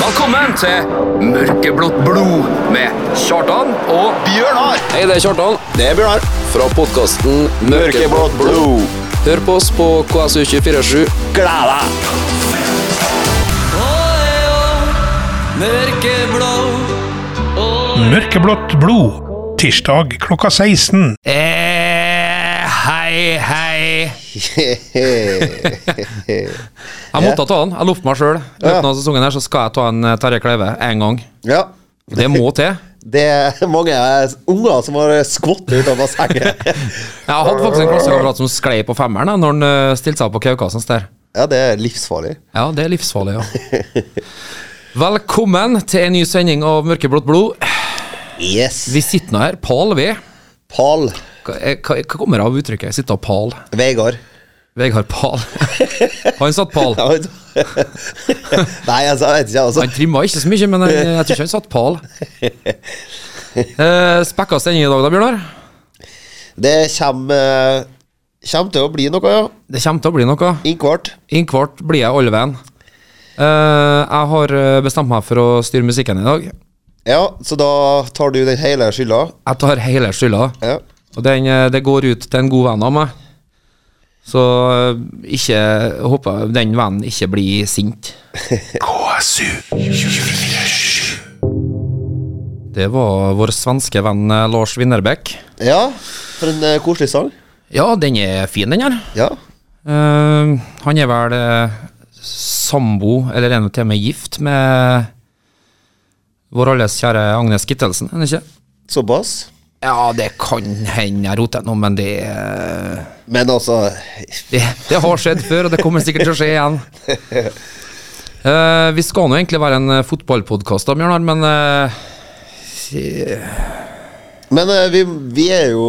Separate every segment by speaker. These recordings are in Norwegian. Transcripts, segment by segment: Speaker 1: Velkommen til Mørkeblått blod med Kjartan og
Speaker 2: Bjørnar!
Speaker 3: Hei, det er Kjartan
Speaker 2: Det er Bjørnar.
Speaker 3: fra podkasten
Speaker 2: Mørkeblått blod.
Speaker 3: Hør på oss på KSU247.
Speaker 2: Gled deg!
Speaker 4: Mørkeblått blod, tirsdag klokka 16.
Speaker 1: Eh, Hei, hei. Jeg måtte ta den. Jeg lovte meg sjøl. I løpet av sesongen her så skal jeg ta en eh, Terje Kleive én gang.
Speaker 2: Ja.
Speaker 1: Det må til.
Speaker 2: Det er mange unger som har skvått ut av bassenget.
Speaker 1: Jeg hadde faktisk en klassekamerat som sklei på femmeren da, når han eh, stilte seg opp på Kaukasens der.
Speaker 2: Ja, det er livsfarlig.
Speaker 1: Ja, det er livsfarlig, ja. Velkommen til en ny sending av Mørkeblått blod.
Speaker 2: Yes.
Speaker 1: Vi sitter nå her, pal vi.
Speaker 2: Pal.
Speaker 1: Hva, eh, hva, hva kommer av uttrykket 'sitte og pal'?
Speaker 2: Vegard.
Speaker 1: Vegard Pal. Han satt pal.
Speaker 2: Ja, vet du. Nei, altså, jeg vet ikke, altså.
Speaker 1: Han trimma ikke så mye, men jeg, jeg tror ikke han satt pal. Eh, spekka sending i dag da, Bjørnar?
Speaker 2: Det kommer, eh, kommer til å bli noe, ja.
Speaker 1: Det kommer til å bli noe.
Speaker 2: Innkvart.
Speaker 1: Innkvart blir jeg alle veien. Eh, jeg har eh, bestemt meg for å styre musikken i dag.
Speaker 2: Ja, så da tar du den hele skylda.
Speaker 1: Jeg tar hele skylda,
Speaker 2: Ja.
Speaker 1: og den, eh, det går ut til en god venn av meg. Så eh, ikke håper jeg den vennen ikke blir sint. Det var vår svenske venn eh, Lars Winnerbäck.
Speaker 2: ja. For en eh, koselig sang.
Speaker 1: Ja, den er fin, den her.
Speaker 2: Ja.
Speaker 1: Eh, han er vel eh, sambo, eller er nå til og med gift, med vår alles kjære Agnes Kittelsen, er det ikke?
Speaker 2: Såpass.
Speaker 1: Ja, det kan hende jeg roter noe, men det, eh,
Speaker 2: Men altså
Speaker 1: det Det har skjedd før, og det kommer sikkert til å skje igjen. Eh, vi skal nå egentlig være en eh, fotballpodkast, da, Bjørnar, men eh,
Speaker 2: Men eh, vi, vi er jo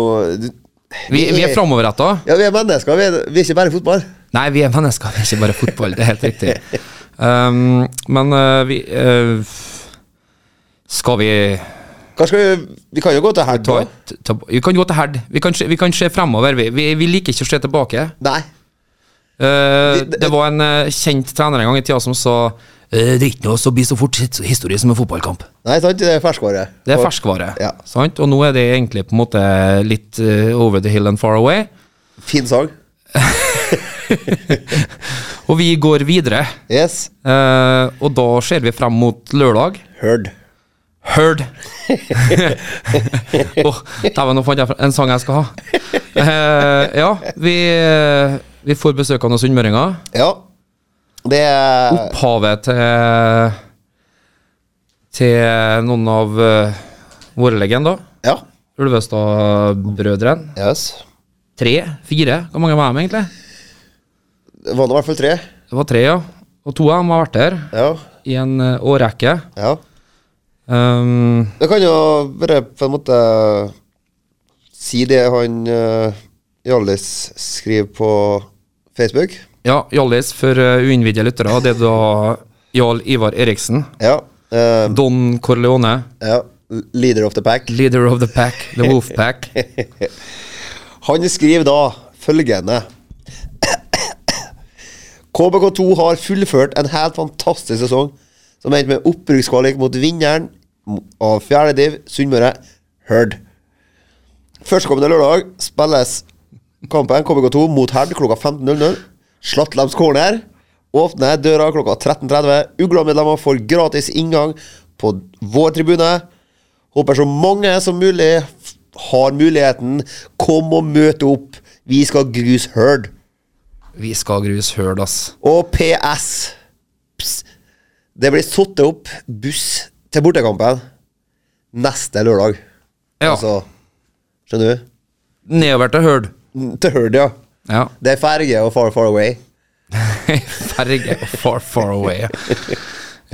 Speaker 1: vi, vi er framoverretta.
Speaker 2: Ja, vi er mennesker. Vi er, vi er ikke bare fotball.
Speaker 1: Nei, vi er mennesker, vi er ikke bare fotball. Det er helt riktig. Um, men eh, vi eh, Skal vi
Speaker 2: Hva skal vi, vi kan jo gå til helg,
Speaker 1: ta
Speaker 2: da.
Speaker 1: et ta, Vi kan gå til herd. Vi kan, se- vi kan se fremover. Vi, vi, vi liker ikke å se tilbake.
Speaker 2: Nei.
Speaker 1: Eh,
Speaker 2: Vi-
Speaker 1: det var en eh, kjent trener en gang i tida som sa eh, Det er ikke noe som blir så fort his- historie som en fotballkamp.
Speaker 2: Nei, sant? Det er ferskvare.
Speaker 1: Det er
Speaker 2: Og-
Speaker 1: ferskvare.
Speaker 2: Ja.
Speaker 1: Sant? Og nå er det egentlig på en måte litt eh, over the hill and far away.
Speaker 2: Fin sang.
Speaker 1: Og vi går videre.
Speaker 2: Yes.
Speaker 1: Eh, og da ser vi frem mot lørdag.
Speaker 2: Heard.
Speaker 1: Heard. Åh, Dæven, nå fant jeg fra- en sang jeg skal ha. Eh, ja, vi, eh, vi får besøk av noen sunnmøringer.
Speaker 2: Ja. Det er
Speaker 1: Opphavet til Til noen av eh, våre legender.
Speaker 2: Ja.
Speaker 1: Ulvestad-brødrene.
Speaker 2: Yes.
Speaker 1: Tre? Fire? Hvor mange var de egentlig?
Speaker 2: Det var nå i hvert fall tre.
Speaker 1: Det var tre, ja. Og to av dem har vært der
Speaker 2: Ja.
Speaker 1: i en eh, årrekke.
Speaker 2: ja.
Speaker 1: Um,
Speaker 2: Det kan jo bare på en måte si det han eh, Hjallis skriver på Facebook.
Speaker 1: ja, Hjallis, for eh, uinnvidde lyttere, det er da Jarl Ivar Eriksen.
Speaker 2: Ja. eh,
Speaker 1: Don Corleone,
Speaker 2: ja. Leader of the pack.
Speaker 1: leader of the pack, the wolf pack.
Speaker 2: Han skriver da følgende KBK2 har fullført en helt fantastisk sesong som endte med oppbrukskvalik mot vinneren av fjerdediv Sunnmøre, Herd. Førstkommende lørdag spilles kampen KBK2 mot Herd klokka 15.00. Slattlems corner åpner døra klokka 13.30. Ugla-medlemmer får gratis inngang på vår tribune. Håper så mange som mulig f- har muligheten. Kom og møt opp. Vi skal gruse Herd.
Speaker 1: Vi skal grus høl, ass.
Speaker 2: Og PS Pss. Det blir satt opp buss til bortekampen neste lørdag.
Speaker 1: Ja,
Speaker 2: Altså, skjønner du?
Speaker 1: nedover til høl.
Speaker 2: N- Til Herd, ja.
Speaker 1: Ja,
Speaker 2: Det er ferge og far, far away.
Speaker 1: ferge og far, far away. ja.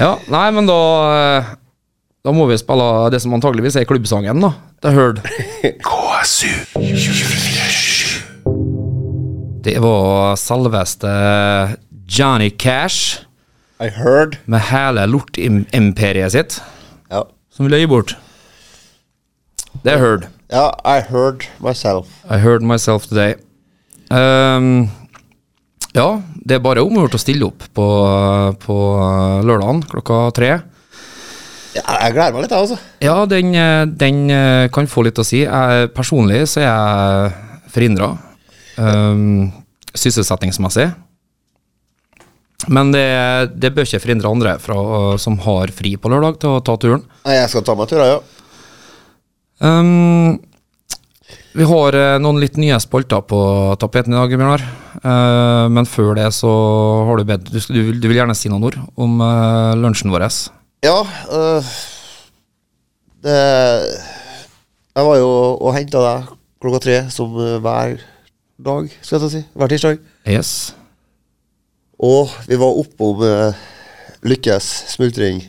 Speaker 1: Ja, nei, men da eh, Da må vi spille det som antageligvis er klubbsangen, da. Til høl. Det var selveste Johnny Cash
Speaker 2: I heard.
Speaker 1: med hele lortimperiet sitt
Speaker 2: Ja.
Speaker 1: som ville gi bort. Det er høl.
Speaker 2: ja, I heard myself.
Speaker 1: I heard myself today. Um, Ehm, Ja, det er bare omgjort å stille opp på, på eh, lørdagen klokka tre.
Speaker 2: Ja, jeg gleder meg litt, jeg, altså.
Speaker 1: Ja, den, eh, den eh, kan få litt å si. Jeg, personlig så er jeg forhindra. Um, sysselsettingsmessig. Men det, det bør ikke forhindre andre fra, å- som har fri på lørdag, til å ta turen.
Speaker 2: Nei, Jeg skal ta meg turer, ja.
Speaker 1: Um, vi har eh, noen litt nye spalter på tapeten i dag, Bjørnar. Eh, men før det så har du bedt du, skal- du, vil- du vil gjerne si noen ord om eh, lunsjen vår.
Speaker 2: Ja. øh, det Jeg var jo og henta deg klokka tre, som øh, hver dag, skal jeg ta si. Hver tirsdag.
Speaker 1: Yes.
Speaker 2: Og vi var oppom øh, Lykkes smultring.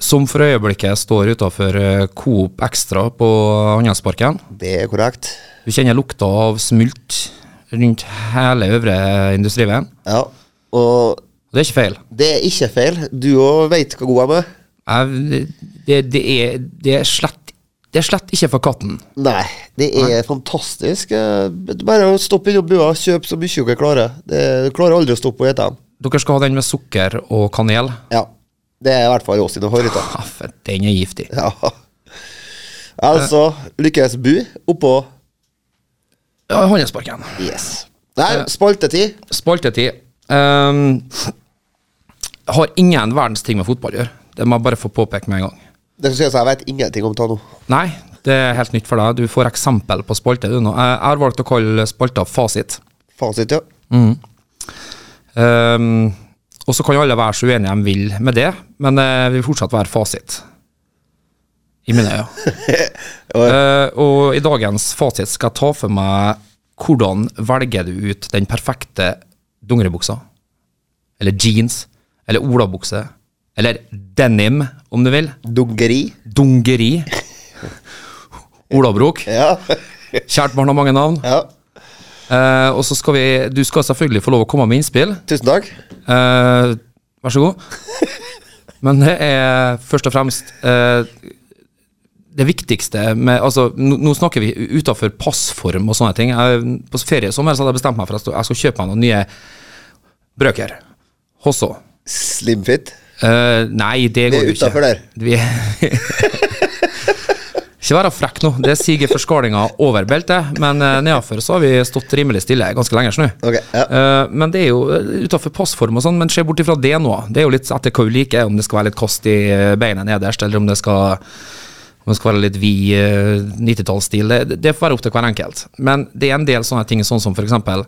Speaker 1: Som for øyeblikket står utafor Coop Extra på Andøyasparken.
Speaker 2: Det er korrekt.
Speaker 1: Du kjenner lukta av smult rundt hele øvre industriveien.
Speaker 2: Ja. Og
Speaker 1: Og det er ikke feil.
Speaker 2: det er ikke feil. Du òg veit hva god jeg er med.
Speaker 1: Jeg, det, det, er, det, er slett, det er slett ikke for katten.
Speaker 2: Nei, det er fantastisk. eh, Bare å stoppe innom bua, kjøp så mye dere klarer. Det, du klarer aldri å stoppe og spise dem.
Speaker 1: Dere skal ha den med sukker og kanel.
Speaker 2: Ja. Det er i hvert fall oss sine favoritter.
Speaker 1: Ah, fett, den er giftig.
Speaker 2: Ja. Altså, lykkes bu oppå
Speaker 1: Ja, Handelsparken.
Speaker 2: Yes. Nei, spaltetid.
Speaker 1: Spaltetid. Ehm, har ingen verdens ting med fotball å gjøre. Det må jeg bare få påpeke med en gang.
Speaker 2: Det skal sies, jeg vet ingenting om Tano.
Speaker 1: Nei, det er helt nytt for deg. Du får eksempel på spalte. Du, nå. Eh, Jeg jeg har valgt å kalle spalta Fasit.
Speaker 2: Fasit, ja.
Speaker 1: Ehm, og så kan jo alle være så uenige de vil med det, men eh, vi vil fortsatt være fasit. I mine øyne. Eh, og i dagens fasit skal jeg ta for meg hvordan velger du ut den perfekte dungeribuksa? Eller jeans? Eller olabukse? Eller denim, om du vil.
Speaker 2: Dungeri.
Speaker 1: Dungeri. Olabrok.
Speaker 2: Ja.
Speaker 1: Kjært barn har mange navn.
Speaker 2: ja.
Speaker 1: Eh, og så skal vi Du skal selvfølgelig få lov å komme med innspill.
Speaker 2: Tusen takk.
Speaker 1: Eh, vær så god. Men det er først og fremst eh, det viktigste med Altså, nå, nå snakker vi utafor passform og sånne ting. Jeg, på ferie i sommer så hadde jeg bestemt meg for at jeg skal kjøpe meg noen nye brøker. Hosso.
Speaker 2: Slimfit.
Speaker 1: Eh, nei, det
Speaker 2: Vi
Speaker 1: går
Speaker 2: er
Speaker 1: jo ikke.
Speaker 2: utenfor der.
Speaker 1: Vi Ikke være frekk nå. Det siger forskalinga over beltet, men eh, nedafor så har vi stått rimelig stille ganske lenge nå.
Speaker 2: Ok, ja.
Speaker 1: Eh, men det er jo utafor passform og sånn, men se bort ifra det nå. Det er jo litt etter hva du liker, om det skal være litt kast i eh, beinet nederst, eller om det skal om det skal være litt vid eh, 90-tallsstil. Det, det får være opp til hver enkelt. Men det er en del sånne ting, sånn som for eksempel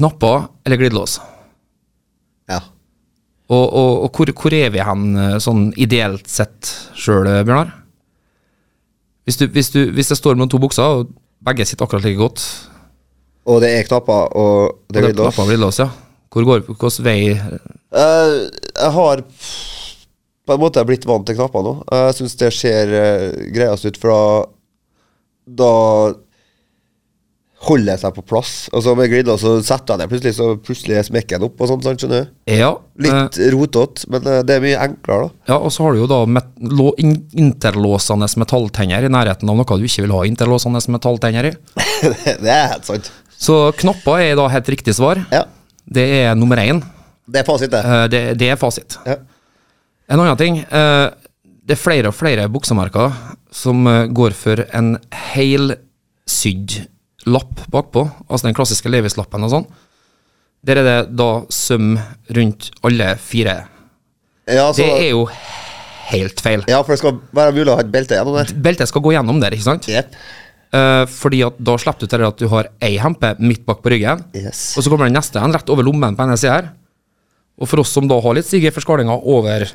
Speaker 1: knapper eller glidelås.
Speaker 2: ja.
Speaker 1: Og, og, og hvor, hvor er vi hen eh, sånn ideelt sett sjøl, Bjørnar? Hvis, du, hvis, du, hvis det står mellom to bukser, og begge sitter akkurat like godt
Speaker 2: Og det er knapper, og
Speaker 1: og
Speaker 2: det
Speaker 1: det
Speaker 2: er
Speaker 1: er
Speaker 2: glidelås.
Speaker 1: knapper og glidelås, ja. Hvor går, hvordan vei
Speaker 2: Eh, jeg har på en måte blitt vant til knapper nå. Jeg syns det ser eh, greiest ut, for da Da holder jeg seg på plass. Og så med glidelås så setter jeg det plutselig, så plutselig er smekken opp og sånt, sant, skjønner du.
Speaker 1: Ja.
Speaker 2: Litt rotete, men eh, det er mye enklere, da.
Speaker 1: eh, ja, og så har du jo da met lå- in- interlåsende metalltenner i nærheten av noe du ikke vil ha interlåsende metalltenner i.
Speaker 2: det er helt sant.
Speaker 1: Så knapper er da helt riktig svar.
Speaker 2: Ja.
Speaker 1: Det er nummer én.
Speaker 2: Det er fasit, det.
Speaker 1: Eh, Det, det er fasit.
Speaker 2: Ja.
Speaker 1: En annen ting. eh, Det er flere og flere buksemerker som eh, går for en helsydd lapp bakpå, altså den klassiske Levis-lappen og sånn. Der er det da søm rundt alle fire.
Speaker 2: Ja, så,
Speaker 1: Det er jo helt feil.
Speaker 2: ja, for det skal være mulig å ha et belte gjennom der.
Speaker 1: Beltet skal gå gjennom der, ikke sant?
Speaker 2: Jepp.
Speaker 1: Eh, fordi at da slipper du til det at du har ei hempe midt bak på ryggen,
Speaker 2: Yes.
Speaker 1: og så kommer den neste en rett over lommen på denne sida her. Og for oss som da har litt sige forskalinga over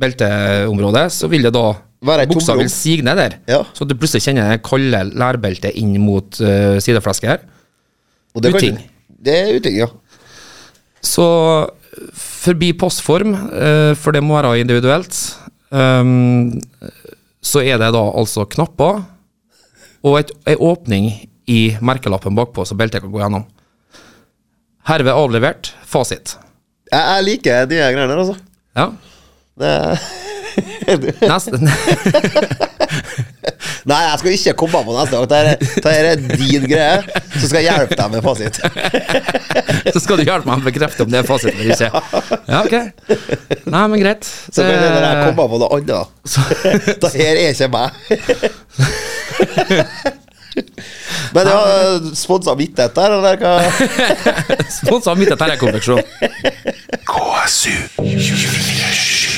Speaker 1: belteområdet, så vil det da
Speaker 2: Være et
Speaker 1: Buksa
Speaker 2: tomrom.
Speaker 1: vil sige ned der,
Speaker 2: Ja.
Speaker 1: så at du plutselig kjenner det kalde lærbeltet inn mot uh, sideflesket her.
Speaker 2: Og det kan-
Speaker 1: uting.
Speaker 2: Det er uting, ja.
Speaker 1: Så eh, forbi postform, eh, for det må være individuelt, ehm, så er det da altså knapper og et, ei åpning i merkelappen bakpå, så beltet kan gå gjennom. Herved avlevert. Fasit.
Speaker 2: Jeg, jeg liker de greiene der, altså.
Speaker 1: Ja.
Speaker 2: Det er
Speaker 1: Neste
Speaker 2: Nei, jeg skal ikke komme på neste gang. Dette er- Dette er din greie, så skal jeg hjelpe deg med fasit.
Speaker 1: Så skal du hjelpe meg å bekrefte om det er fasit eller ikke. Ja, ok. Nei, men greit.
Speaker 2: Så kan jeg, når jeg
Speaker 1: Det-
Speaker 2: kommer på noe annet. Dette her er ikke meg. Men ja, sponsa mitt dette her, eller hva?
Speaker 1: Sponsa mitt etter konveksjon.
Speaker 4: KSU 247.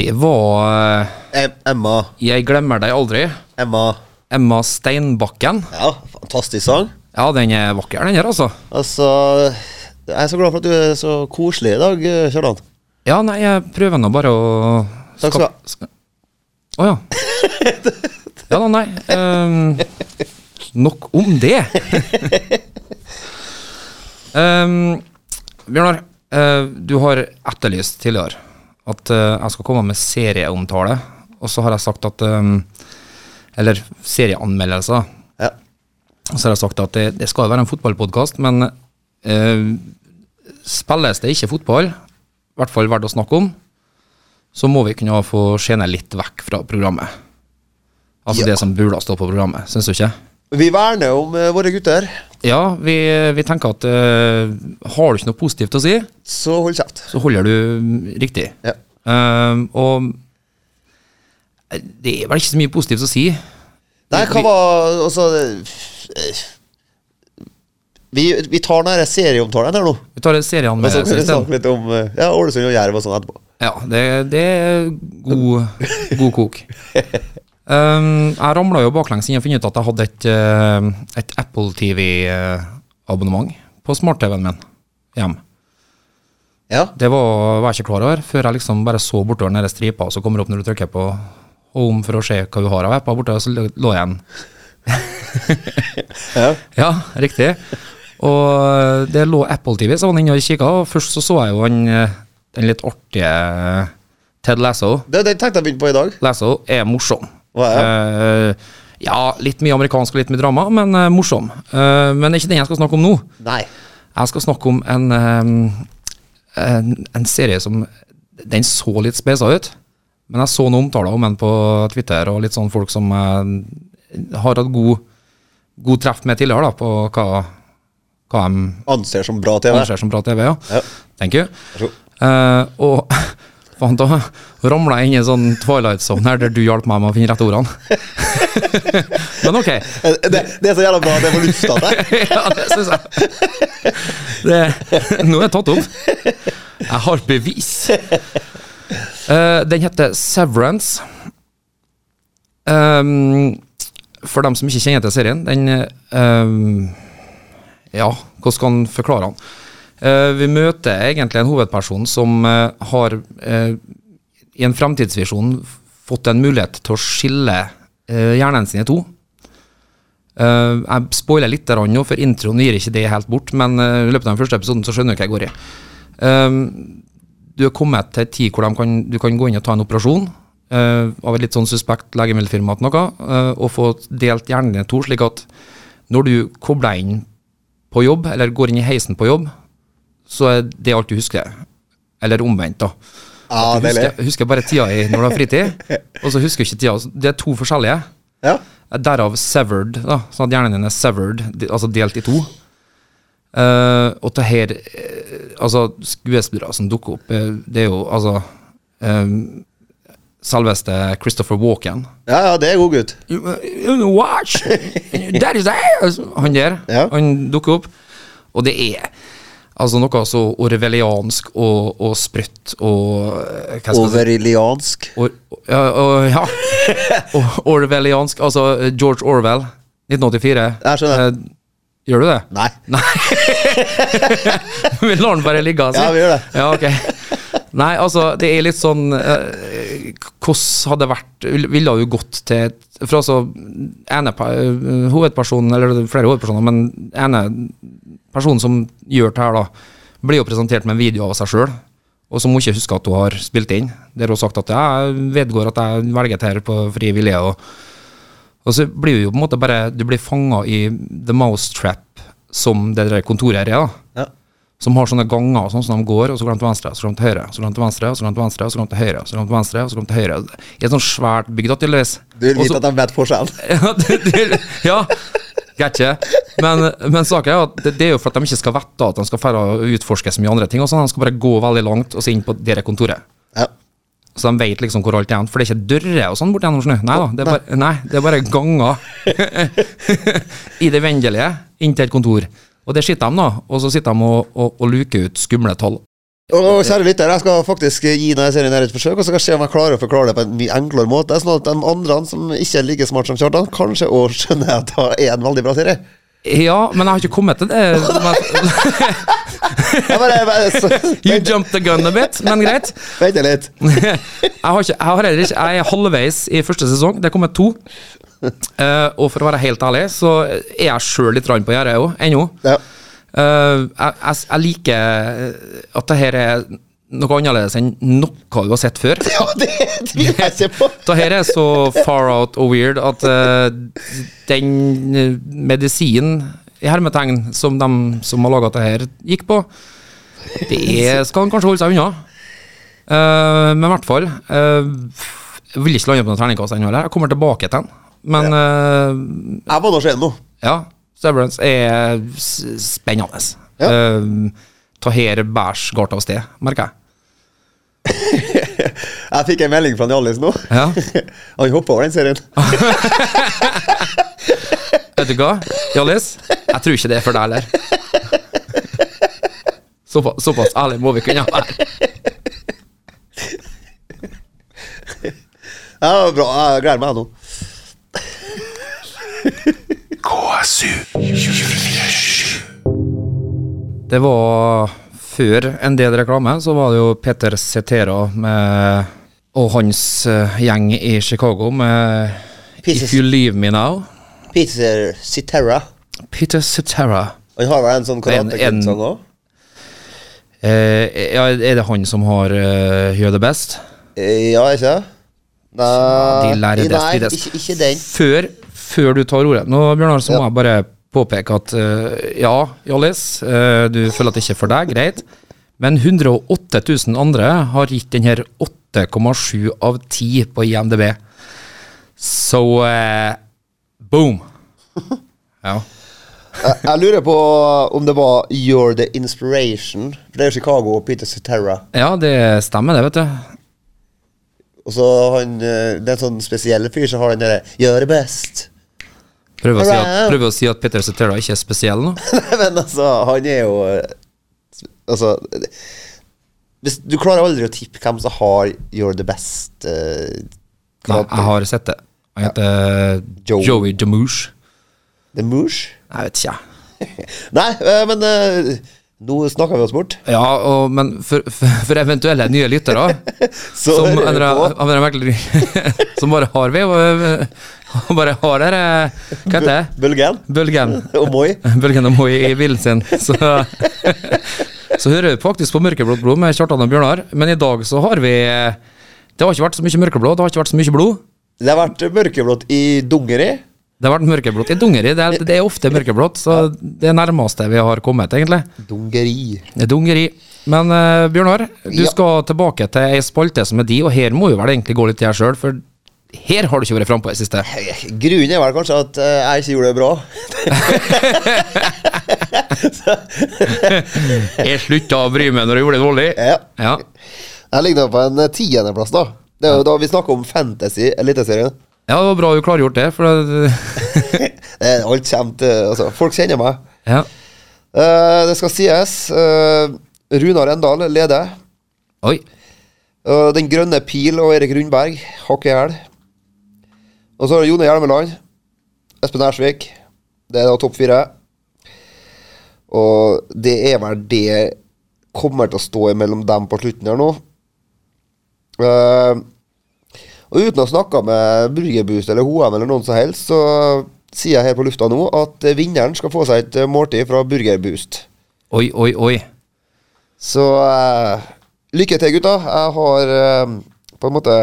Speaker 1: Det var eh,
Speaker 2: Em- Emma.
Speaker 1: Jeg glemmer deg aldri.
Speaker 2: Emma.
Speaker 1: Emma Steinbakken.
Speaker 2: Ja, fantastisk sang.
Speaker 1: Ja, den er vakker, den her, altså.
Speaker 2: Altså, jeg er så glad for at du er så koselig i dag, Kjartan.
Speaker 1: Ja, nei, jeg prøver nå bare å
Speaker 2: Takk skal du ha.
Speaker 1: du ha. Å ja. Ja da, nei. ehm, nok om det. Ehm, Bjørnar, eh, du har etterlyst tidligere at eh, jeg skal komme med serieomtale. Og så har jeg sagt at ehm, Eller serieanmeldelser.
Speaker 2: Ja.
Speaker 1: Og så har jeg sagt at det, det skal jo være en fotballpodkast, men eh, spilles det ikke fotball, i hvert fall verdt å snakke om, så må vi kunne få skjene litt vekk fra programmet. Altså det som burde stå på programmet, syns du ikke?
Speaker 2: Vi verner om eh, våre gutter,
Speaker 1: Ja, vi, vi tenker at eh, har du ikke noe positivt å si,
Speaker 2: så hold kjeft.
Speaker 1: så holder du riktig.
Speaker 2: Ja.
Speaker 1: Eh, og eh, det er vel ikke så mye positivt å si.
Speaker 2: Nei, hva var Altså eh, Vi, vi tar den her serieomtalen her nå.
Speaker 1: Vi tar en
Speaker 2: Men
Speaker 1: serieanmeldelse
Speaker 2: Altså, så kan vi
Speaker 1: isteden.
Speaker 2: snakke litt om eh, ja, Ålesund og Jerv og sånn etterpå.
Speaker 1: Ja, det, det er god, god kok. Um, jeg ramla jo baklengs inn og funnet ut at jeg hadde et, eh, et Apple TV-abonnement på smart-TV-en min hjem.
Speaker 2: Ja.
Speaker 1: Det var, var jeg ikke klar over før jeg liksom bare så bortover den der stripa som kommer opp når du trykker på home for å se hva du har av apper borte, og så lå lå jeg en
Speaker 2: Ja.
Speaker 1: Ja, riktig. Og eh, det lå Apple TV, så var han inne og kikka, og først så så jeg jo han, eh, den litt artige Ted Lasso.
Speaker 2: Det, den tenkte jeg begynne på i dag.
Speaker 1: Lasso er morsom.
Speaker 2: Hva
Speaker 1: Eh, ja, litt mye amerikansk og litt mye drama, men eh, morsom. Eh, men det er ikke den jeg skal snakke om nå.
Speaker 2: Nei.
Speaker 1: Jeg skal snakke om en, eh, en, en serie som Den så litt spesa ut, men jeg så noen omtaler om den på Twitter, og litt sånn folk som eh, har hatt god, god treff med tidligere, da, på hva, hva de
Speaker 2: Anser som bra TV.
Speaker 1: anser som bra TV. Ja.
Speaker 2: Ja.
Speaker 1: Thank you.
Speaker 2: så god.
Speaker 1: Eh, og faen, da ramla jeg inn i en sånn twilight zone her der du hjalp meg med å finne rette ordene. Men ok.
Speaker 2: Eh, Det, det er så jævla bra at jeg får lufta det.
Speaker 1: ja, det syns jeg. Det, nå er jeg tatt opp. Jeg har bevis. Eh, den heter Severance. Ehm, for dem som ikke kjenner til serien, den ehm, Ja, hvordan skal en forklare den? Eh, vi møter egentlig en hovedperson som eh, har eh, i en fremtidsvisjon fått en mulighet til å skille eh, hjernen sin i to. Eh, jeg spoiler litt der nå, for introen gir ikke det helt bort, men eh, i løpet av den første episoden så skjønner du hva jeg går i. Eh, du er kommet til en tid hvor de kan, du kan gå inn og ta en operasjon eh, av et litt sånn suspekt legemiddelfirma til noe, eh, og få delt hjernen din i to, slik at når du kobler inn på jobb, eller går inn i heisen på jobb, så er det alt du husker. Eller omvendt, da.
Speaker 2: Ja,
Speaker 1: Du
Speaker 2: deilig.
Speaker 1: husker, husker bare tida i når du har fritid, og så husker du ikke tida. Altså, Det er to forskjellige.
Speaker 2: Ja.
Speaker 1: Derav severed, da, sånn at hjernen din er severed, de- altså delt i to. Eh, og det her eh, Altså, skuespillere som dukker opp, eh, det er jo altså eh, Selveste Christopher Walken.
Speaker 2: ja, ja, det er god gutt.
Speaker 1: You, uh, you watch! That is ass! Han der,
Speaker 2: Ja.
Speaker 1: han dukker opp. Og det er altså noe så orwelliansk og, og sprøtt og eh, hva skal jeg si?
Speaker 2: Overiliansk.
Speaker 1: Or, ja, og- ja. Og- Orwelliansk. Altså eh, George Orwell, 1984.
Speaker 2: Jeg skjønner.
Speaker 1: Eh, gjør du det?
Speaker 2: Nei.
Speaker 1: vi lar den bare ligge, altså.
Speaker 2: Ja, vi gjør det.
Speaker 1: Ja, ok. Nei, altså, det er litt sånn eh, Hvordan hadde det vært vil- Ville jo gått til et- For altså, ene pa- eh, hovedpersonen, eller flere hovedpersoner, men ene personen som gjør det her, da, blir jo presentert med en video av seg sjøl, og som hun ikke husker at hun har spilt inn. Der hun har sagt at jeg vedgår at jeg velger det her på fri vilje. og og så blir du jo på en måte bare Du blir fanga i the mousetrap som det der kontoret her er. da.
Speaker 2: Ja.
Speaker 1: som har sånne ganger og sånn som de går, og så går de til venstre, så går de til høyre, så går de til venstre, så går de til venstre, så går de til høyre, så går de til venstre, så går de til høyre. I et sånt svært bygg, da, tydeligvis.
Speaker 2: Du vil
Speaker 1: Og så-
Speaker 2: vite at de vet forskjellen.
Speaker 1: ja, det, det, ja. greit ikke. Men, men saken er jo at det, det er jo for at de ikke skal vite at de skal fære og utforske så mye andre ting. Og sånn. De skal bare gå veldig langt og så inn på dere kontoret.
Speaker 2: Ja.
Speaker 1: Så de vet liksom hvor alt er hen. For det er ikke dører og sånn bort gjennom snø. Nei da, det er bare, nei, det er bare ganger i det uendelige inn til et kontor. Og der sitter de, da. Og så sitter de og, og, og luker ut skumle tall.
Speaker 2: Og, og kjære lytter, jeg skal faktisk gi denne serien her et forsøk, og så skal jeg se om jeg klarer å forklare det på en mye enklere måte. Sånn at de andre som ikke er like smart som Kjartan, kanskje òg skjønner at det er en veldig bra serie.
Speaker 1: Ja, men jeg har ikke kommet til det. Men,
Speaker 2: Jeg bare, jeg bare, så,
Speaker 1: you jumped the gun a bit, men greit.
Speaker 2: vent litt.
Speaker 1: jeg, har ikke, jeg har heller ikke Jeg er halvveis i første sesong. Det er kommet to. Eh, og for å være helt ærlig, så er jeg sjøl litt rann på gjerdet òg, ennå.
Speaker 2: Ja.
Speaker 1: Eh, jeg, jeg, jeg liker eh, at det her er noe annerledes enn noe du har sett før.
Speaker 2: ja, det tviler jeg ikke på.
Speaker 1: Det her er så far out og weird at eh, den eh, medisinen i hermetegn som de som har laga det her, gikk på, det skal han kanskje holde seg unna. Eh, men i hvert fall eh, Jeg vil ikke lande på noen terningkast ennå. eller? Jeg kommer tilbake til den. Men
Speaker 2: Jeg må nå se den nå.
Speaker 1: eh, ja, Severance er s- spennende.
Speaker 2: Ja.
Speaker 1: Eh, ta her bæsj galt av sted, merker jeg.
Speaker 2: Jeg fikk en melding fra Hjallis nå.
Speaker 1: Ja.
Speaker 2: Han hoppa over den serien.
Speaker 1: Vet du hva, Hjallis? Jeg tror ikke det er for deg heller. Såpa, såpass ærlig må vi kunne være.
Speaker 2: Ja, bra, jeg gleder meg nå.
Speaker 4: KSU 247.
Speaker 1: Det var før en del reklame, så var det jo Peter Cetera med, og hans eh, gjeng i Chicago med If
Speaker 2: Pieces.
Speaker 1: You Leave Me Now.
Speaker 2: Peter Citerra.
Speaker 1: Peter Cetera.
Speaker 2: Han har vel en sånn
Speaker 1: En- en-
Speaker 2: karatekrigsang òg?
Speaker 1: Eh, ja, er det han som har eh, You're the Best?
Speaker 2: Eh, Ja, ikke Nei,
Speaker 1: De lærde
Speaker 2: nei
Speaker 1: strides.
Speaker 2: ikke, ikke den.
Speaker 1: Før, før du tar ordet Nå, Bjørnar, så må
Speaker 2: Ja.
Speaker 1: jeg bare påpeke at eh, ja, Hjallis, eh, du føler at det ikke er for deg, greit. Men 108 000 andre har gitt den her 8,7 av 10 på IMDb. Så eh, boom! Ja.
Speaker 2: Jeg, jeg lurer på om det var You're the Inspiration. For det er jo Chicago og Peter Citerra.
Speaker 1: ja, det stemmer det, vet du.
Speaker 2: Og så han eh, Det er en sånn spesiell fyr som har den derre Gjør det best.
Speaker 1: Prøver å, si at,
Speaker 2: Wow.
Speaker 1: prøver å si at Peter Cetera ikke er spesiell nå.
Speaker 2: Nei, men altså, han er jo eh, Altså det- hvis, Du klarer aldri å tippe hvem som har You're the best. eh,
Speaker 1: Nei,
Speaker 2: karakter.
Speaker 1: jeg har sett det. Han heter
Speaker 2: Joey.
Speaker 1: Joey DeMouche.
Speaker 2: The Moosh?
Speaker 1: Jeg vet ikke, jeg.
Speaker 2: Nei, eh, men eh, nå snakker vi oss bort.
Speaker 1: Ja, og, men for, for, for eventuelle nye lyttere
Speaker 2: Så
Speaker 1: som,
Speaker 2: hører vi
Speaker 1: andre,
Speaker 2: på.
Speaker 1: av andre merkelige- som bare har vi og bare har der eh, Hva heter det?
Speaker 2: Bølgen
Speaker 1: Bølgen.
Speaker 2: og Moi.
Speaker 1: Bølgen og Moi i bilen sin. Så, så hører vi faktisk på Mørkeblått blod med Kjartan og Bjørnar, men i dag så har vi eh, Det har ikke vært så mye mørkeblå, det har ikke vært så mye blod.
Speaker 2: Det har vært mørkeblått i dungeri.
Speaker 1: Det har vært mørkeblått i dungeri. Det er, det er ofte mørkeblått, så det er nærmeste vi har kommet, egentlig.
Speaker 2: Dungeri.
Speaker 1: Det er Dungeri. Men eh, Bjørnar, du
Speaker 2: Ja.
Speaker 1: skal tilbake til ei spalte som er di, og her må jo vel egentlig gå litt til deg sjøl, for her har du ikke vært frampå i det siste.
Speaker 2: Grunnen er vel kanskje at eh, jeg ikke gjorde det bra.
Speaker 1: Jeg slutta å bry meg når jeg gjorde det dårlig.
Speaker 2: Ja.
Speaker 1: Ja.
Speaker 2: Jeg ligger da på en eh, tiendeplass, da. Det er jo da vi snakker om fantasy, eliteserien.
Speaker 1: ja, det var bra du klargjort det, for det
Speaker 2: Det er Alt kommer til Altså, folk kjenner meg.
Speaker 1: Ja.
Speaker 2: Eh, det skal sies. eh, Runar Endal leder.
Speaker 1: Oi.
Speaker 2: Eh, Den grønne pil og Erik Rundberg hakk i hæl. Og så er det Jone Hjelmeland. Espen Ersvik. Det er da topp fire. Og det er vel det kommer til å stå mellom dem på slutten her nå. Eh, og uten å ha snakka med Burgerboost eller HM eller noen som helst, så sier jeg her på lufta nå at eh, vinneren skal få seg et eh, måltid fra Burgerboost.
Speaker 1: Oi, oi, oi.
Speaker 2: Så eh, lykke til, gutta. Jeg har eh, på en måte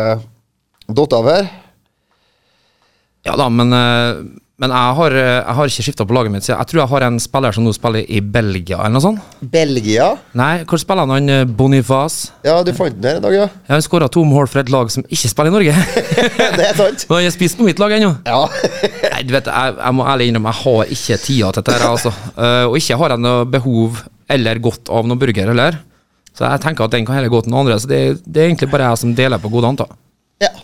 Speaker 2: datt av her.
Speaker 1: Ja da, men eh, Men jeg har, eh, jeg har ikke skifta på laget mitt. så Jeg tror jeg har en spiller som nå spiller i Belgia, eller noe sånt.
Speaker 2: Belgia?
Speaker 1: Nei, hvor spiller han, han eh, Boniface?
Speaker 2: Ja, du fant den her en dag, ja.
Speaker 1: Ja, Han skåra to mål for et lag som ikke spiller i Norge.
Speaker 2: Det er sant.
Speaker 1: Men han er spist på mitt lag ennå.
Speaker 2: Ja.
Speaker 1: Nei, du vet, jeg, jeg må ærlig innrømme, jeg har ikke tida til dette her, altså. Eh, og ikke har jeg noe behov eller godt av noen burger heller. Så jeg tenker at den kan heller gå til noen andre. Så det, det er egentlig bare jeg som deler på godene, da.
Speaker 2: ja.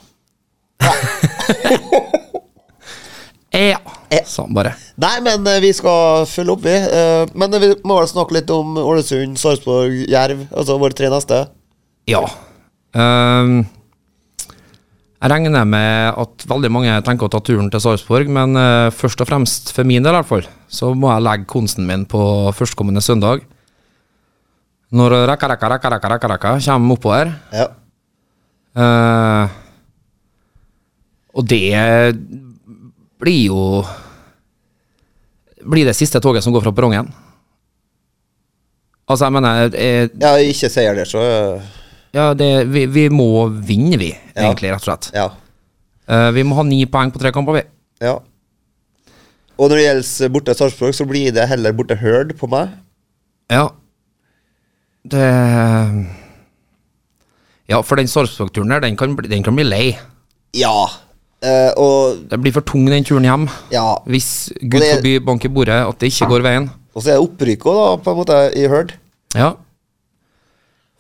Speaker 1: Ja, sa han Sånn, bare.
Speaker 2: Nei, men eh, vi skal følge opp, vi. Eh, Men vi må vel snakke litt om Ålesund, Sarpsborg, Jerv. Altså våre tre neste.
Speaker 1: Ja. Ehm, jeg regner med at veldig mange tenker å ta turen til Sarpsborg, men eh, først og fremst for min del i hvert fall, så må jeg legge konsten min på førstkommende søndag. Når rekka, rekka, rekka, rekka, rekka, rekka kommer oppover.
Speaker 2: Ja.
Speaker 1: eh, og det blir jo Blir det siste toget som går fra perrongen. Altså, jeg mener eh,
Speaker 2: ja ikke seier der, så eh,
Speaker 1: ja, det, vi, vi må vinne, vi,
Speaker 2: Ja.
Speaker 1: egentlig, rett og slett.
Speaker 2: Ja.
Speaker 1: Eh, vi må ha ni poeng på tre kamper, vi.
Speaker 2: ja. Og når det gjelder eh, borte Sarpsborg, så blir det heller borte Hørd på meg.
Speaker 1: Ja. Det Ja, for den Sarpsborg-turen her, den kan, bli- den kan bli lei.
Speaker 2: Ja. Eh, og
Speaker 1: Det blir for tung, den turen hjem.
Speaker 2: ja.
Speaker 1: Hvis Gud
Speaker 2: Og det-
Speaker 1: forby bank i bordet, at det ikke går veien.
Speaker 2: Og så er det opprykk òg, da, på en måte, i Hørd.
Speaker 1: Ja.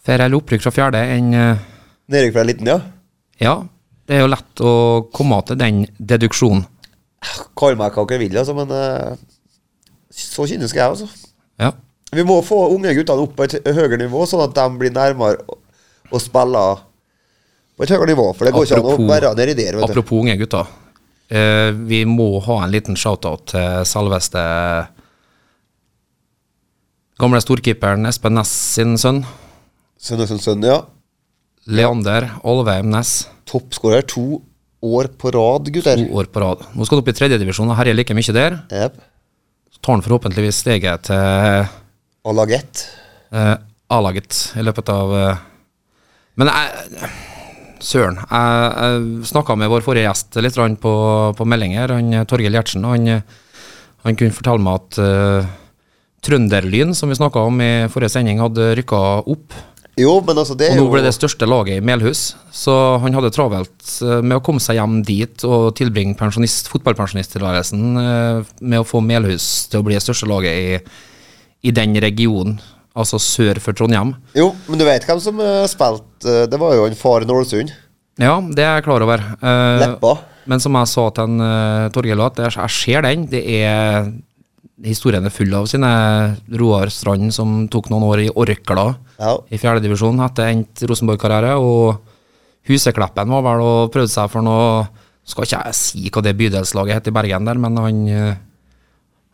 Speaker 1: Får jeg opprykk fra fjerde enn eh,
Speaker 2: Nedrykk fra liten, ja.
Speaker 1: Ja. Det er jo lett å komme til den deduksjonen.
Speaker 2: Kall meg hva dere vil, altså, men eh, så kynisk er jeg, altså.
Speaker 1: Ja.
Speaker 2: Vi må få unge guttene opp på et høyere nivå, sånn at de blir nærmere å- å spille på et høyere nivå. For det går ikke an å
Speaker 1: Apropos-
Speaker 2: være nedi der, vet du.
Speaker 1: Apropos unge gutter. Eh, vi må ha en liten shout-out til selveste gamle storkeeperen Espen Næss sin sønn.
Speaker 2: Sønnesen Sønn, ja.
Speaker 1: Leander Alveim Næss.
Speaker 2: Toppskårer to år på rad, gutter.
Speaker 1: To år på rad. Nå skal han opp i tredjedivisjon og herjer like mye der.
Speaker 2: Jep.
Speaker 1: Så tar han forhåpentligvis steget til eh,
Speaker 2: Og lag ett.
Speaker 1: A-laget i løpet av eh. Men jeg Søren. Jeg, jeg snakka med vår forrige gjest litt grann på, på melding her, han eh, Torgeir Gjertsen. og Han, eh, han kunne fortelle meg at eh, Trønderlyn, som vi snakka om i forrige sending, hadde rykka opp.
Speaker 2: Jo, men altså, det
Speaker 1: Og
Speaker 2: er
Speaker 1: nå
Speaker 2: jo
Speaker 1: ble det største laget i Melhus, så han hadde travelt eh, med å komme seg hjem dit og tilbringe pensjonist, fotballpensjonisttilværelsen eh, med å få Melhus til å bli det største laget i, i den regionen, altså sør for Trondheim.
Speaker 2: Jo, men du vet hvem som eh, spilte eh, Det var jo han faren Ålesund.
Speaker 1: Ja, det er jeg klar over. Eh,
Speaker 2: Leppa.
Speaker 1: Men som jeg sa til en, eh, Torgeir, at jeg, jeg ser den. Det er Historien er full av sine Roar Strand, som tok noen år i Orkla.
Speaker 2: Ja.
Speaker 1: i fjerdedivisjon etter endt Rosenborg-karriere. Og Husekleppen var vel og prøvde seg for noe Skal ikke jeg si hva det bydelslaget het i Bergen der, men han, eh,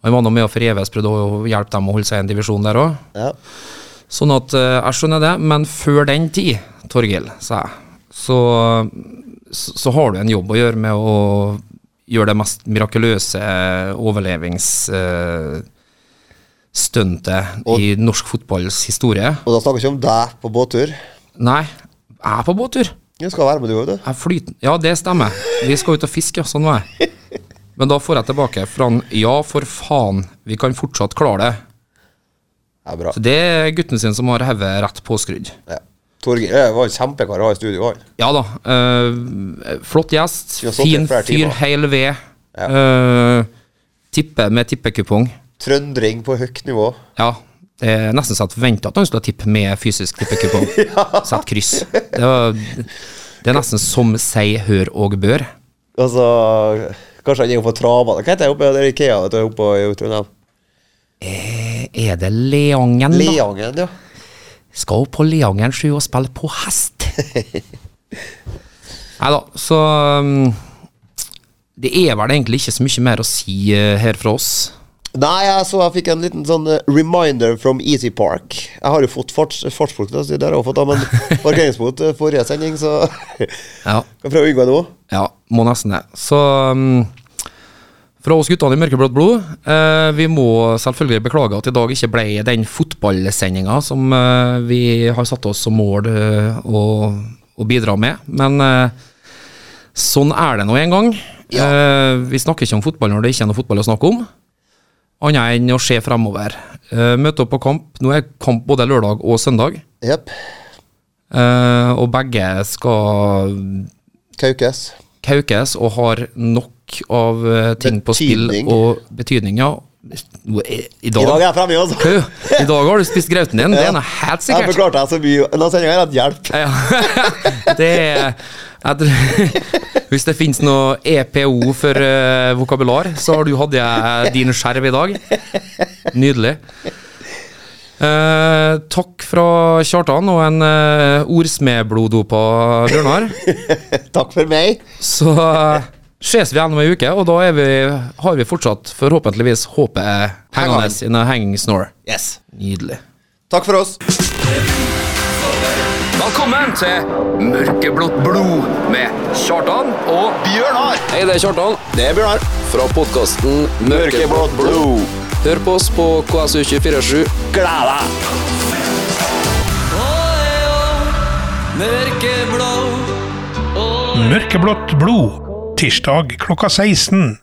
Speaker 1: han var nå med og forgjeves prøvde å hjelpe dem å holde seg i en divisjon der òg.
Speaker 2: ja.
Speaker 1: Sånn at eh, jeg skjønner det, men før den tid, Torgill, sa jeg, så, så, så har du en jobb å gjøre med å gjøre det mest mirakuløse eh, overlevingsstuntet i norsk fotballs historie.
Speaker 2: Og da snakker vi ikke om deg på båttur.
Speaker 1: Nei, jeg er på båttur.
Speaker 2: Du skal være med, du òg, du.
Speaker 1: Jeg flyter. Ja, det stemmer. Vi skal ut og fiske, ja. Sånn var jeg. Men da får jeg tilbake fra han Ja, for faen, vi kan fortsatt klare det.
Speaker 2: Ja, bra.
Speaker 1: Så det er gutten sin som har hodet rett påskrudd.
Speaker 2: Ja. Torgeir eh, var en kjempekar å ha i studio, han.
Speaker 1: Ja da. øh, flott gjest.
Speaker 2: Vi har stått i
Speaker 1: Fin
Speaker 2: flere
Speaker 1: fyr,
Speaker 2: timer.
Speaker 1: heil ved. Øh, tippe med tippekupong.
Speaker 2: Trøndring på høyt nivå.
Speaker 1: Ja. Det er nesten så jeg forventa at han skulle ha tipp med fysisk tippekupong. Sett kryss. Det, var, det er nesten som sei, hør og bør.
Speaker 2: Altså, kanskje han er oppe på travene. Hva heter det oppe der Ikea vet du, oppe i Trondheim?
Speaker 1: Er det Leangen, da?
Speaker 2: Leangen, ja.
Speaker 1: skal opp på Leangen 7 og spille på hest. Nei da, så um, Det er vel egentlig ikke så mye mer å si eh, her fra oss.
Speaker 2: Nei, jeg så jeg fikk en liten sånn eh, reminder from Easy Park. Jeg har jo fått farts, fartsfolk, da, så det har jeg også fått, da, men parkeringsbot eh, forrige sending, så Kan
Speaker 1: Ja,
Speaker 2: prøve å unngå det nå.
Speaker 1: ja må nesten det. Så mm, um, fra oss guttene i Mørkeblått blod, eh, vi må selvfølgelig beklage at i dag ikke ble den fotballsendinga som eh, vi har satt oss som mål eh, å, å bidra med. Men eh, Sånn er det nå en gang. Eh, vi snakker ikke om fotball når det ikke er noe fotball å snakke om, annet enn å se fremover. Eh, møte opp på kamp. Nå er kamp både lørdag og søndag,
Speaker 2: Jepp.
Speaker 1: eh, og begge skal
Speaker 2: Kaukes.
Speaker 1: kaukes og har nok av eh, ting på spill
Speaker 2: Betydning.
Speaker 1: og betydning, ja. Nå er- I
Speaker 2: I
Speaker 1: dag,
Speaker 2: dag er jeg fremme, altså.
Speaker 1: Kø, I dag har du spist grauten din, det er nå helt
Speaker 2: Jeg
Speaker 1: sikkert.
Speaker 2: forklarte jeg så mye Denne sendinga har hatt hjelp.
Speaker 1: Ja. Det er jeg tror, Hvis det finnes noe EPO for eh, vokabular, så har du hatt jeg din skjerv i dag. Nydelig. Eh, takk fra Kjartan og en uh, ordsmedbloddopa Bjørnar.
Speaker 2: Takk for meg.
Speaker 1: Så eh, ses vi igjen om ei uke, og da er vi, har vi fortsatt forhåpentligvis håpet hengende in a hanging snore.
Speaker 2: Yes.
Speaker 1: Nydelig.
Speaker 2: Takk for oss.
Speaker 1: Velkommen til Mørkeblått blod med Kjartan og
Speaker 2: Bjørnar.
Speaker 3: Hei, det er Kjartan
Speaker 2: Det er Bjørnar.
Speaker 3: fra podkasten Mørkeblått blod. Hør på oss på KSU247.
Speaker 2: Gled deg.
Speaker 4: Mørkeblått blod. Tirsdag klokka 16.